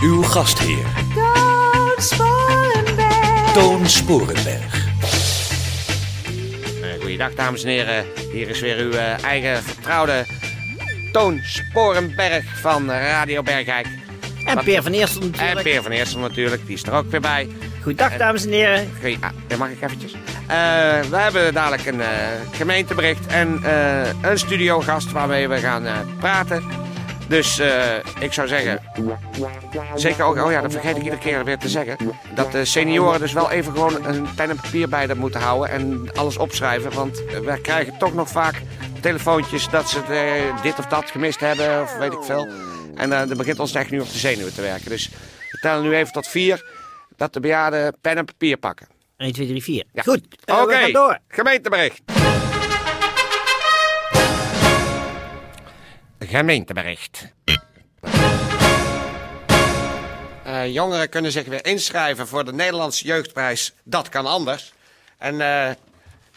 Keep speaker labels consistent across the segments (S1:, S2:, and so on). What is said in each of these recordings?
S1: Uw gastheer
S2: Toon Sporenberg.
S1: Toon Sporenberg.
S3: Eh, Goeiedag dames en heren, hier is weer uw eh, eigen vertrouwde Toon Sporenberg van Radio Bergijk.
S4: En Peer van Eersten
S3: En
S4: natuurlijk.
S3: Peer van Eersel natuurlijk, die is er ook weer bij.
S4: Goeiedag, dames en heren.
S3: Goeie- ah, daar mag ik eventjes. Eh, we hebben dadelijk een eh, gemeentebericht en eh, een studiogast waarmee we gaan eh, praten. Dus eh, ik zou zeggen, zeker ook, oh ja, dat vergeet ik iedere keer weer te zeggen, dat de senioren dus wel even gewoon een pen en papier bij dat moeten houden en alles opschrijven. Want wij krijgen toch nog vaak telefoontjes dat ze eh, dit of dat gemist hebben of weet ik veel. En eh dat begint ons echt nu op de zenuwen te werken. Dus we tellen nu even tot vier dat de bejaarden pen en papier pakken.
S4: 1, 2, 3, 4.
S3: Ja.
S4: Goed, eh,
S3: oké.
S4: we gaan door.
S3: Gemeentebericht. Gemeentebericht. Eh, jongeren kunnen zich weer inschrijven voor de Nederlandse jeugdprijs. Dat kan anders. En eh,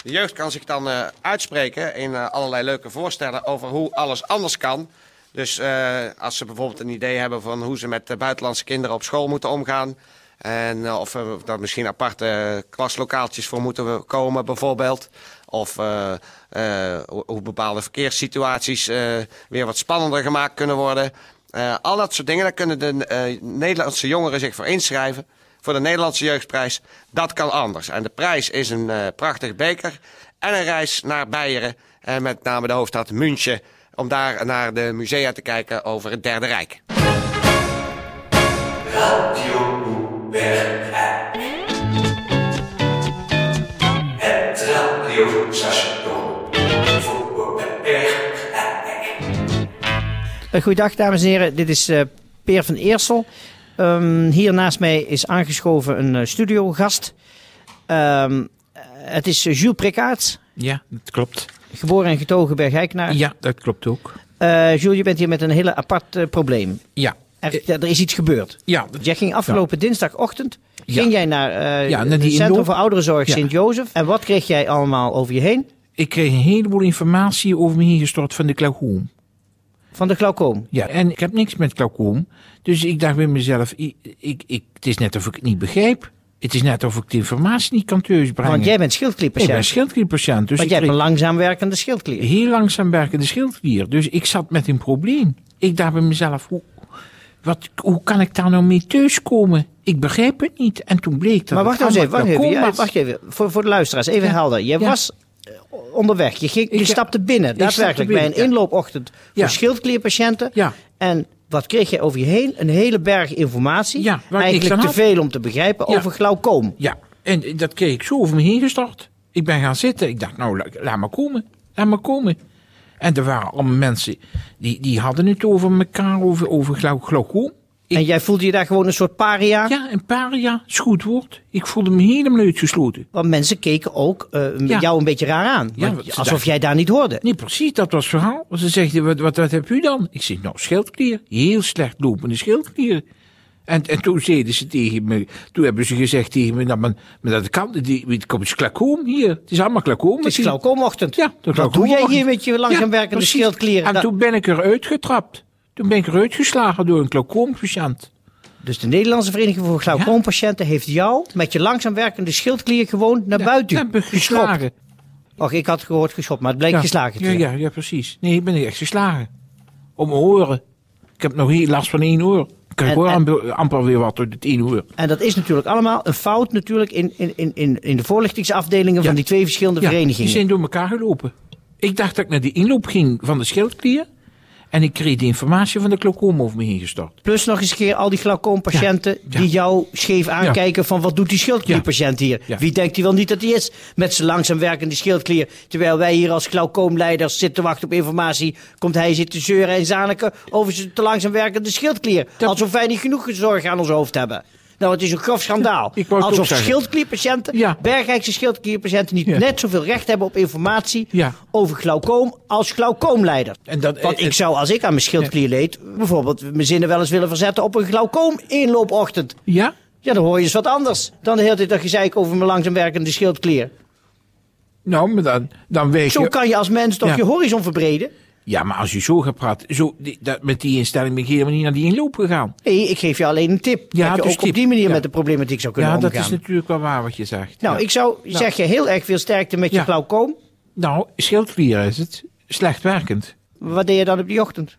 S3: de jeugd kan zich dan eh, uitspreken in eh, allerlei leuke voorstellen over hoe alles anders kan. Dus eh, als ze bijvoorbeeld een idee hebben van hoe ze met de buitenlandse kinderen op school moeten omgaan. En eh, of er daar misschien aparte eh, klaslokaaltjes voor moeten we- komen bijvoorbeeld. Of eh, eh, hoe- hoe bepaalde verkeerssituaties eh, weer wat spannender gemaakt kunnen worden. Eh, al dat soort dingen, daar kunnen de eh, Nederlandse jongeren zich voor inschrijven. Voor de Nederlandse Jeugdprijs. Dat kan anders. En de prijs is een eh, prachtig beker. En een reis naar Beieren. En met name de hoofdstad München. Om daar naar de musea te kijken over het Derde Rijk.
S4: Eh, Goeiedag, dames en heren. Dit is eh, Peer van Eersel. Ehm, hier naast mij is aangeschoven een eh, studiogast. Ehm, eh, het is eh, Jules Prikkaerts,
S5: Ja, dat klopt.
S4: geboren en getogen bij Geikenaar.
S5: Ja, dat klopt ook.
S4: Eh, Jules, je bent hier met een hele apart eh, probleem.
S5: Ja.
S4: Er, ja, er is iets gebeurd.
S5: Eh. Ja,
S4: Jij ging afgelopen dinsdagochtend
S5: Ja.
S4: ging jij naar eh
S5: Ja, naar die
S4: het Centrum
S5: indoor-
S4: voor Ouderenzorg
S5: Ja.
S4: Sint-Jozef. En wat kreeg jij allemaal over je heen?
S5: ik kreeg een heleboel informatie over me heen gestort van de glaucoom.
S4: Van de glaucoom.
S5: Ja, en ik heb niks met glaucoom. Dus ik dacht bij mezelf, ik, ik, ik- het is net of ik het niet begrijp. Het is net of ik de informatie niet kan thuisbrengen.
S4: Want jij bent schildklierpatiënt.
S5: Ik ben schildklierpatiënt, dus
S4: Want
S5: ik
S4: jij hebt
S5: kreeg
S4: een langzaam werkende schildklier.
S5: heel langzaam werkende schildklier. Dus ik zat met een probleem. Ik dacht bij mezelf, hoe, wat, hoe kan ik daar nou mee thuiskomen? Ik begrijp het niet. En toen bleek dat
S4: Maar
S5: het
S4: wacht nou eens even,
S5: allemaal
S4: wacht even.
S5: glaucoom
S4: Ja,
S5: was.
S4: wacht even. Voor, voor de luisteraars, even
S5: Ja.
S4: helder. Je
S5: Ja.
S4: was eh, onderweg, je, ging, je
S5: Ik, eh,
S4: stapte binnen,
S5: ik stapte
S4: daadwerkelijk, bij
S5: binnen,
S4: een
S5: ja.
S4: inloopochtend
S5: Ja.
S4: voor schildklierpatiënten.
S5: Ja.
S4: En wat kreeg je over je heen? Een hele berg informatie.
S5: Ja, waar ik niks
S4: Eigenlijk
S5: aan
S4: te
S5: had.
S4: veel om te begrijpen
S5: Ja.
S4: over glaucoom.
S5: Ja, en dat kreeg ik zo over me heen gestort. Ik ben gaan zitten. Ik dacht, nou, la- laat maar komen. Laat maar komen. En er waren allemaal mensen die, die hadden het over elkaar, over, over glau- glaucoom. Ik-
S4: En jij voelde je daar gewoon een soort paria?
S5: Ja, een paria is goed woord. Ik voelde me helemaal uitgesloten.
S4: Want mensen keken ook eh, met
S5: Ja.
S4: jou een beetje raar aan.
S5: Ja,
S4: Want
S5: want ze
S4: alsof
S5: dachten-
S4: jij daar niet hoorde.
S5: Nee, precies, dat was het verhaal. Ze zegt, wat, wat, wat heb u dan? Ik zeg, nou, schildklier. Heel slecht lopende schildklier. En, en toen zeiden ze tegen me, toen hebben ze gezegd tegen me, dat, men, maar dat kan, die, het komt klakoom hier. Het is allemaal klakoom.
S4: Het is glaucoomochtend.
S5: Ja, dat
S4: Wat
S5: ook
S4: doe jij
S5: horen.
S4: hier met je langzaam
S5: Ja,
S4: werkende
S5: precies.
S4: schildklieren? Nou-
S5: En
S4: Dat-
S5: toen ben ik eruit getrapt. Toen ben ik eruit geslagen door een glaucoompatiënt.
S4: Dus de Nederlandse Vereniging voor Glaucoompatiënten heeft jou met je langzaam werkende schildklier gewoon naar buiten
S5: Ja, ben ik
S4: geschopt.
S5: geslagen.
S4: Och, ik had gehoord geschopt, maar het bleek
S5: Ja.
S4: geslagen te
S5: ja,
S4: zijn.
S5: ja, ja, precies. Nee, ik ben echt geslagen. Om mijn oren. Ik heb nog heel last van één oor. Ik krijg
S4: En-
S5: hoor
S4: en-
S5: amper, amper weer wat door het één oor.
S4: En dat is natuurlijk allemaal een fout natuurlijk in, in, in- in, in de voorlichtingsafdelingen van
S5: Ja.
S4: die twee verschillende
S5: Ja, die
S4: verenigingen.
S5: zijn door elkaar gelopen. Ik dacht dat ik naar die inloop ging van de schildklier. En ik kreeg de informatie van de glaucoom over me heen gestort.
S4: Plus nog eens een keer al die glaucoompatiënten
S5: Ja, ja.
S4: die jou scheef aankijken van wat doet die schildklierpatiënt hier?
S5: Ja.
S4: Wie denkt hij wel niet dat hij is met zijn langzaam werkende schildklier? Terwijl wij hier als glaucoomleiders zitten te wachten op informatie, komt hij zitten zeuren en zaniken over zijn te langzaam werkende schildklier.
S5: Dat-
S4: Alsof wij niet genoeg zorgen aan ons hoofd hebben. Nou, het is een grof schandaal.
S5: ik wou het ook
S4: Alsof
S5: zeggen.
S4: schildklierpatiënten,
S5: Ja.
S4: Bergijkse schildklierpatiënten, niet
S5: Ja.
S4: net zoveel recht hebben op informatie
S5: Ja.
S4: over glaucoom als glaucoomleider.
S5: En dat,
S4: Want
S5: eh,
S4: ik zou, als ik aan mijn schildklier leed, bijvoorbeeld mijn zinnen wel eens willen verzetten op een glaucoom-inloopochtend.
S5: Ja?
S4: Ja, dan hoor je eens wat anders dan de hele tijd dat gezeik over mijn langzaam werkende schildklier.
S5: Nou, maar dan, dan weet
S4: Zo
S5: je...
S4: kan je als mens toch
S5: Ja.
S4: je horizon verbreden?
S5: Ja, maar als je zo gaat praten... Zo, die- dat, met die instelling ben ik helemaal niet naar die inloop gegaan.
S4: Nee, ik geef je alleen een tip.
S5: Ja,
S4: dat je
S5: dus
S4: ook
S5: tip.
S4: op die manier
S5: Ja.
S4: met de problematiek zou kunnen
S5: Ja, dat
S4: omgaan.
S5: is natuurlijk wel waar wat je zegt.
S4: Nou,
S5: Ja.
S4: ik zou
S5: Nou.
S4: zeg je heel erg veel sterkte met
S5: Ja.
S4: je glaucoom.
S5: nou, schildklier is het. Slecht werkend.
S4: Wat deed je dan op die ochtend?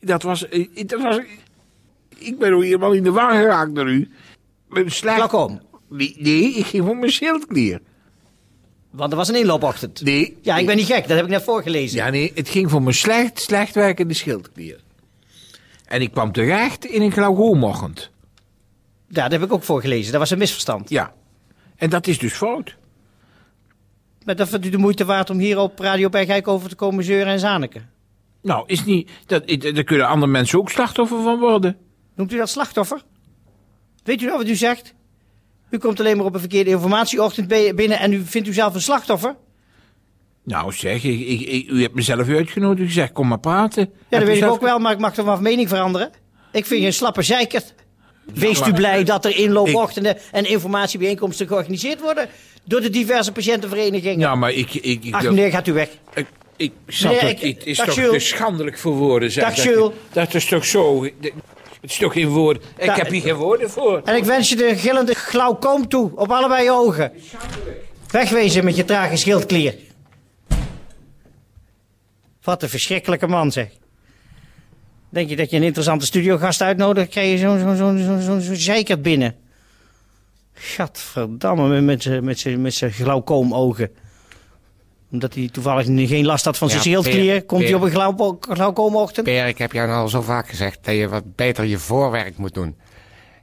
S5: Dat was... eh, Dat was ik ben ook helemaal in de war geraakt door u. Mijn Slecht...
S4: Glaucoom.
S5: Nee, nee, ik ging voor mijn schildklier.
S4: Want er was een inloopochtend.
S5: Nee.
S4: Ja, ik
S5: nee.
S4: ben niet gek. Dat heb ik net voorgelezen.
S5: Ja, nee, het ging voor mijn slecht, slecht werkende schildklier. En ik kwam terecht in een glaucoomochtend.
S4: Ja, dat heb ik ook voorgelezen. Dat was een misverstand.
S5: Ja. En dat is dus fout.
S4: Maar dat vindt u de moeite waard om hier op Radio Bergijk over te komen zeuren en zaniken?
S5: Nou, is niet. Dat, i- daar kunnen andere mensen ook slachtoffer van worden.
S4: Noemt u dat slachtoffer? Weet u nou wat u zegt? U komt alleen maar op een verkeerde informatieochtend be- binnen en u vindt u zelf een slachtoffer?
S5: Nou, zeg, ik, ik, ik- u hebt mezelf uitgenodigd. U zegt, kom maar praten.
S4: Ja, dat weet ik ook
S5: wel.
S4: wel, maar ik mag toch van mening veranderen? Ik vind je een slappe zeikert. Wees
S5: maar-
S4: u blij dat er inloopochtenden en informatiebijeenkomsten georganiseerd worden door de diverse patiëntenverenigingen.
S5: Ja, maar ik. ik, ik
S4: Ach meneer, gaat u weg.
S5: Ik, ik snap
S4: Meneer,
S5: het
S4: ik-
S5: niet. Het is
S4: dag,
S5: toch
S4: Jules.
S5: te schandelijk voor woorden, zeg.
S4: Dag,
S5: dat je-
S4: Jules.
S5: Dat is toch zo. de- Het is toch geen woord. Ik
S4: Ja,
S5: heb hier geen woorden voor.
S4: En ik wens je de gillende glaucoom toe op allebei je ogen. Wegwezen met je trage schildklier. Wat een verschrikkelijke man zeg. Denk je dat je een interessante studiogast uitnodigt, krijg je zo'n zo, zo, zo, zo, zo zeikert binnen. Gadverdamme, met- met z'n- met z'n- met zijn glaucoomogen. Omdat hij toevallig geen last had van zijn
S6: Ja,
S4: schildklier,
S6: Peer,
S4: komt hij
S6: Peer.
S4: op een glauco- glaucoomochtend.
S6: Peer, ik heb jou nou al zo vaak gezegd dat je wat beter je voorwerk moet doen.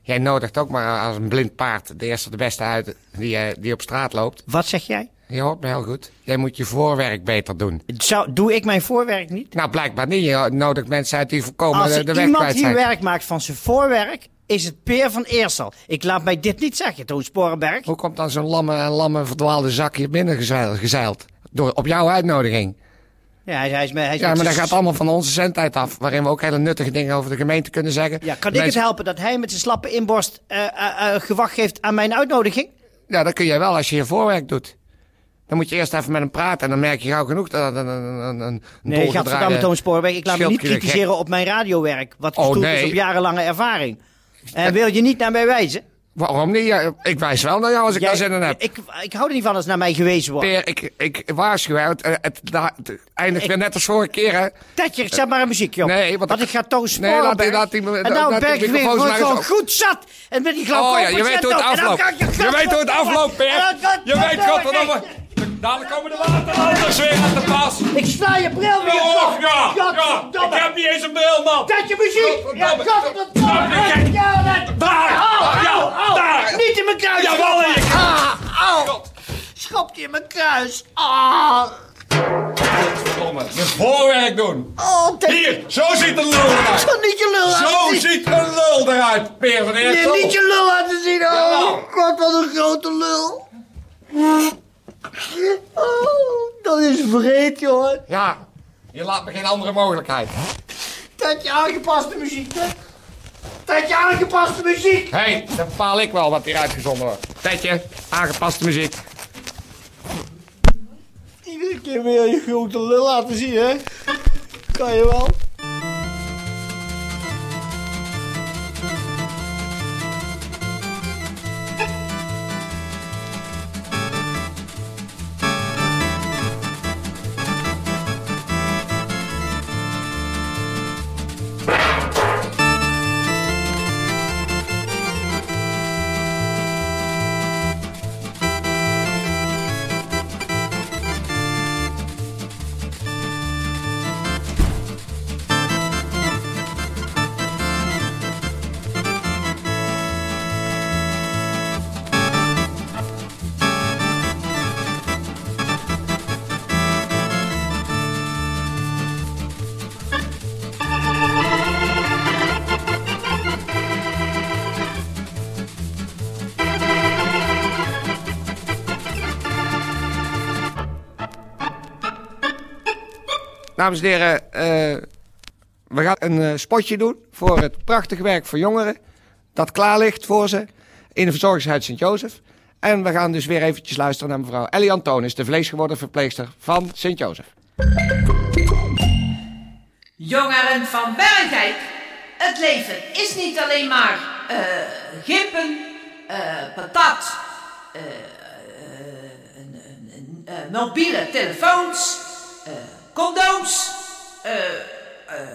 S6: Jij nodigt ook maar als een blind paard de eerste de beste uit die, eh, die op straat loopt.
S4: Wat zeg jij?
S6: Je hoort me heel goed. Jij moet je voorwerk beter doen.
S4: Zou, doe ik mijn voorwerk niet?
S6: Nou, blijkbaar niet. Je nodigt mensen uit die voorkomen
S4: Als
S6: de,
S4: er
S6: de weg
S4: iemand
S6: kwijt
S4: hier
S6: zijn.
S4: werk maakt van zijn voorwerk, is het Peer van Eersel. Ik laat mij dit niet zeggen, Toon Sporenberg.
S6: Hoe komt dan zo'n lamme, lamme verdwaalde zak hier binnen gezeild? gezeild? Door, op jouw uitnodiging.
S4: Ja, hij, hij is, me- hij is
S6: Ja,
S4: met
S6: maar dat
S4: zijn-
S6: gaat allemaal van onze zendtijd af. Waarin we ook hele nuttige dingen over de gemeente kunnen zeggen.
S4: Ja, kan ik
S6: Mensen-
S4: het helpen dat hij met zijn slappe inborst eh, eh, eh, gewacht geeft aan mijn uitnodiging?
S6: Ja, dat kun jij wel als je je voorwerk doet. Dan moet je eerst even met hem praten en dan merk je gauw genoeg dat het een, een, een, een
S4: Nee, gadverdamme Toon Sporenberg. Ik laat me niet
S6: Schildklier,
S4: kritiseren op mijn radiowerk, wat
S6: Oh,
S4: gestoeld is
S6: nee.
S4: op jarenlange ervaring. En wil je niet naar mij wijzen?
S6: Waarom niet? Ja, ik wijs wel naar jou als ik daar zin in heb.
S4: ik, ik hou er niet van als naar mij gewezen wordt.
S6: Peer, ik, ik waarschuw, hè, want, eh, het, da- het eindigt weer net als vorige keer,
S4: Nou,
S6: hè?
S4: Tetje, zet maar een muziekje op.
S6: Nee,
S4: want,
S6: want-
S4: ik ga Toon
S6: Nee,
S4: Sporenberg.
S6: laat die- laat die-
S4: en
S6: laat
S4: nou
S6: die
S4: ben ik weer
S6: microfoons
S4: gewoon,
S6: maar eens
S4: gewoon
S6: op.
S4: goed zat. En met die
S6: Oh
S4: glaucoom.
S6: ja, je weet hoe het afloopt. Je weet hoe het afloopt, Peer. Je weet, godverdomme. Dadelijk komen de waterlanders weer aan de pas.
S4: Ik sla je bril weer
S6: Och,
S4: op.
S6: ja, ja. Ik heb niet eens een bril, man.
S4: Dat je muziek. Ja,
S6: Godverdomme.
S4: godverdomme. Ja, dat.
S6: Daar.
S4: Au,
S6: Ja,
S4: au, au.
S6: daar.
S4: Niet in mijn kruis.
S6: Jawel, in je kruis.
S4: Ah, au. Schop je in mijn kruis. Ah.
S6: Je voorwerk doen.
S4: Oh, dat
S6: Hier, zo ziet een lul eruit.
S4: kan Oh, niet je lul
S6: Zo
S4: aan.
S6: ziet een lul eruit, Peer van
S4: Je
S6: Eersel.
S4: niet je lul aan te zien. Oh, god, wat een grote lul. Oh, dat is vreed, jongen.
S6: Ja, je laat me geen andere mogelijkheid.
S4: Dat je aangepaste muziek, hè? Dat je aangepaste muziek.
S6: Hé, hey, dan bepaal ik wel wat hier uitgezonden wordt. Tijdje, aangepaste muziek.
S4: Iedere keer weer je grote lul laten zien, hè? Kan je wel.
S3: Dames en heren, eh, we gaan een eh, spotje doen voor het prachtig werk voor jongeren. Dat klaar ligt voor ze in de verzorgingshuis Sint-Jozef. En we gaan dus weer eventjes luisteren naar mevrouw Ellie Antonis, de vleesgeworden verpleegster van Sint-Jozef.
S7: Jongeren van Bergijk, het leven is niet alleen maar eh gimpen, eh, patat, eh, eh, een- een- een- eh, mobiele telefoons, eh, condooms, eh, eh,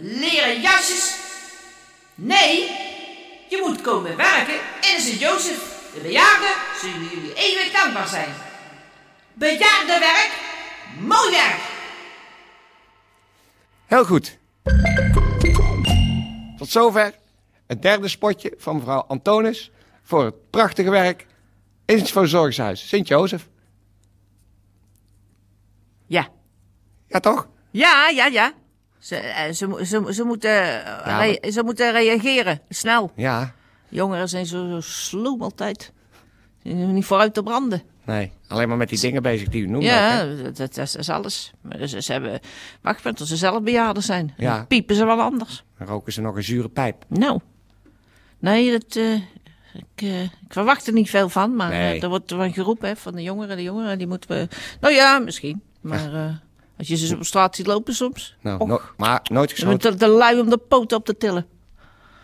S7: leren jasjes. Nee, je moet komen werken in Sint-Jozef. De bejaarden zullen jullie eeuwig dankbaar zijn. Bejaardenwerk, mooi werk!
S3: Heel goed. Tot zover het derde spotje van mevrouw Antonis voor het prachtige werk in het verzorgingshuis Sint-Jozef.
S7: Ja,
S3: Ja, toch?
S7: Ja, ja, ja. Ze, eh, ze, mo- ze, ze, moeten, eh, rea- ze moeten reageren, snel.
S3: Ja.
S7: Jongeren zijn zo, zo sloom altijd. Ze zijn niet vooruit te branden.
S3: Nee, alleen maar met die dingen bezig die u noemde. ook,
S7: Ja,
S3: hè?
S7: dat, dat, dat is alles. Maar ze, ze hebben wachtpunt tot ze zelf bejaarden zijn.
S3: Ja.
S7: Dan piepen ze wel anders.
S3: Dan roken ze nog een zure pijp.
S7: Nou, nee, dat, eh, ik, eh, ik verwacht er niet veel van. Maar eh,
S3: Nee.
S7: er wordt er van geroepen hè, van de jongeren, de jongeren, die moeten we... Nou ja, misschien. Maar eh, als je ze op straat ziet lopen soms...
S3: Nou,
S7: och,
S3: no- maar nooit
S7: ze zijn
S3: geschoten,
S7: te, te lui om de poten op te tillen.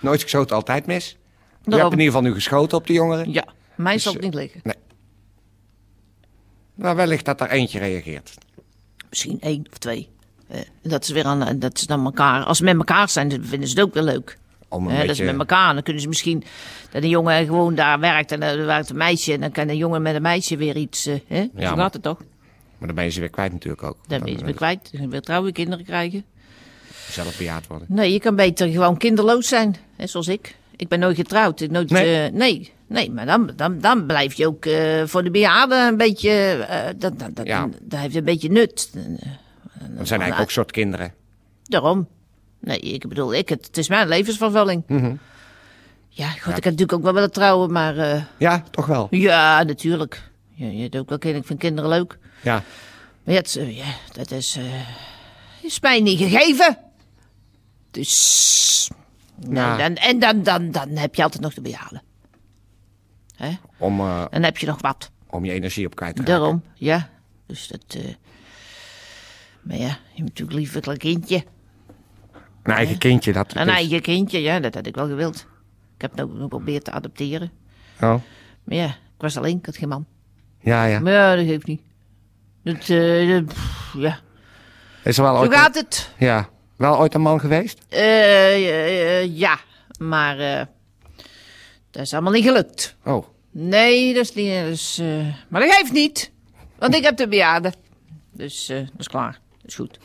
S3: nooit geschoten altijd mis. Je
S7: Daarom.
S3: hebt in ieder geval nu geschoten op de jongeren.
S7: Ja, mij zal
S3: eh,
S7: het niet liggen.
S3: Maar wellicht dat er eentje reageert.
S7: Misschien één of twee. Eh, dat is weer aan, eh, dat is dan elkaar. Als ze met elkaar zijn, dan vinden ze het ook wel leuk.
S3: Om een
S7: Hè, Dat
S3: beetje-
S7: is met elkaar. Dan kunnen ze misschien dat een jongen gewoon daar werkt en eh, er werkt een meisje. En dan kan een jongen met een meisje weer iets. eh, hè?
S3: Ja,
S7: Zo
S3: maar-
S7: gaat het toch?
S3: Maar dan ben je ze weer kwijt natuurlijk ook. eh,
S7: Dan ben je ze weer kwijt. Dan gaan we weer trouwe kinderen krijgen.
S3: Zelf bejaard worden.
S7: Nee, je kan beter gewoon kinderloos zijn. Hè, zoals ik. Ik ben nooit getrouwd. Ik nooit,
S3: Nee.
S7: nee. nee. Nee, maar dan, dan, dan blijf je ook eh, voor de bejaarden een beetje. eh, dat, dat, dat,
S3: Ja.
S7: dat heeft een beetje nut.
S3: Dat zijn eigenlijk ook soort kinderen.
S7: Daarom. Nee, ik bedoel, ik, het, het is mijn levensvervulling.
S3: Mhm.
S7: Ja, goed, ik had natuurlijk ook wel willen trouwen, maar... eh,
S3: Ja, toch wel.
S7: ja, natuurlijk. Ja, je hebt ook wel kinderen, ik vind kinderen leuk.
S3: Ja.
S7: Maar ja, het, eh, ja, dat is... eh, is mij niet gegeven. Dus... Nou,
S3: Ja.
S7: dan, en dan, dan, dan heb je altijd nog te behalen. Hè?
S3: Om, eh,
S7: Dan heb je nog wat.
S3: om je energie op kwijt te raken.
S7: Daarom, ja. Dus dat... eh, maar ja, je hebt natuurlijk liever een kindje.
S3: Een eigen kindje. Dat
S7: Een
S3: dus-
S7: eigen kindje, ja, dat had ik wel gewild. Ik heb het ook geprobeerd te adopteren.
S3: Oh.
S7: Maar ja, ik was alleen, ik had geen man.
S3: Ja, ja.
S7: Maar ja, dat geeft niet. Dat, eh, dat- pff, ja.
S3: Is er wel
S7: Zo
S3: ooit
S7: gaat het.
S3: een... Ja. Wel ooit een man geweest?
S7: Eh, eh, eh, ja, maar eh, dat is allemaal niet gelukt.
S3: Oh.
S7: Nee, dat is niet... dat is, eh, maar dat geeft niet, want ik heb de bejaarde. Dus eh, dat is klaar, dat is goed.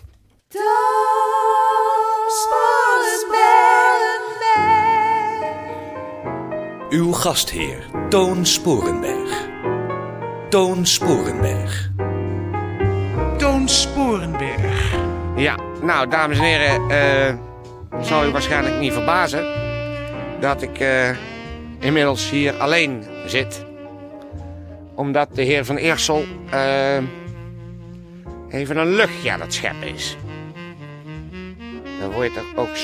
S1: Uw gastheer, Toon Sporenberg. Toon Sporenberg.
S8: Toon Sporenberg.
S3: Ja, nou, dames en heren, eh, het zal u waarschijnlijk niet verbazen dat ik eh, inmiddels hier alleen zit. Omdat de heer Van Eersel eh, even een luchtje aan het scheppen is. Daar word je toch ook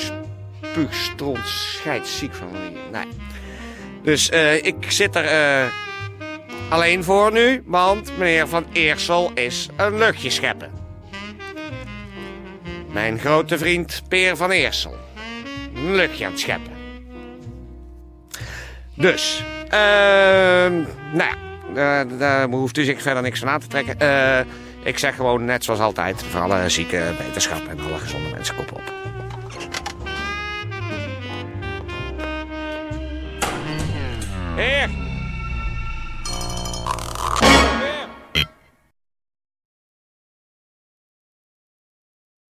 S3: spuugstront scheidsziek van. Nee. Dus eh, ik zit er eh, alleen voor nu, want meneer Van Eersel is een luchtje scheppen. Mijn grote vriend Peer van Eersel. Een luchtje aan het scheppen. Dus, ehm nou ja, eh, daar hoeft u zich verder niks van aan te trekken. Eh, ik zeg gewoon net zoals altijd, voor alle zieke wetenschap en alle gezonde mensen kop op. Heer,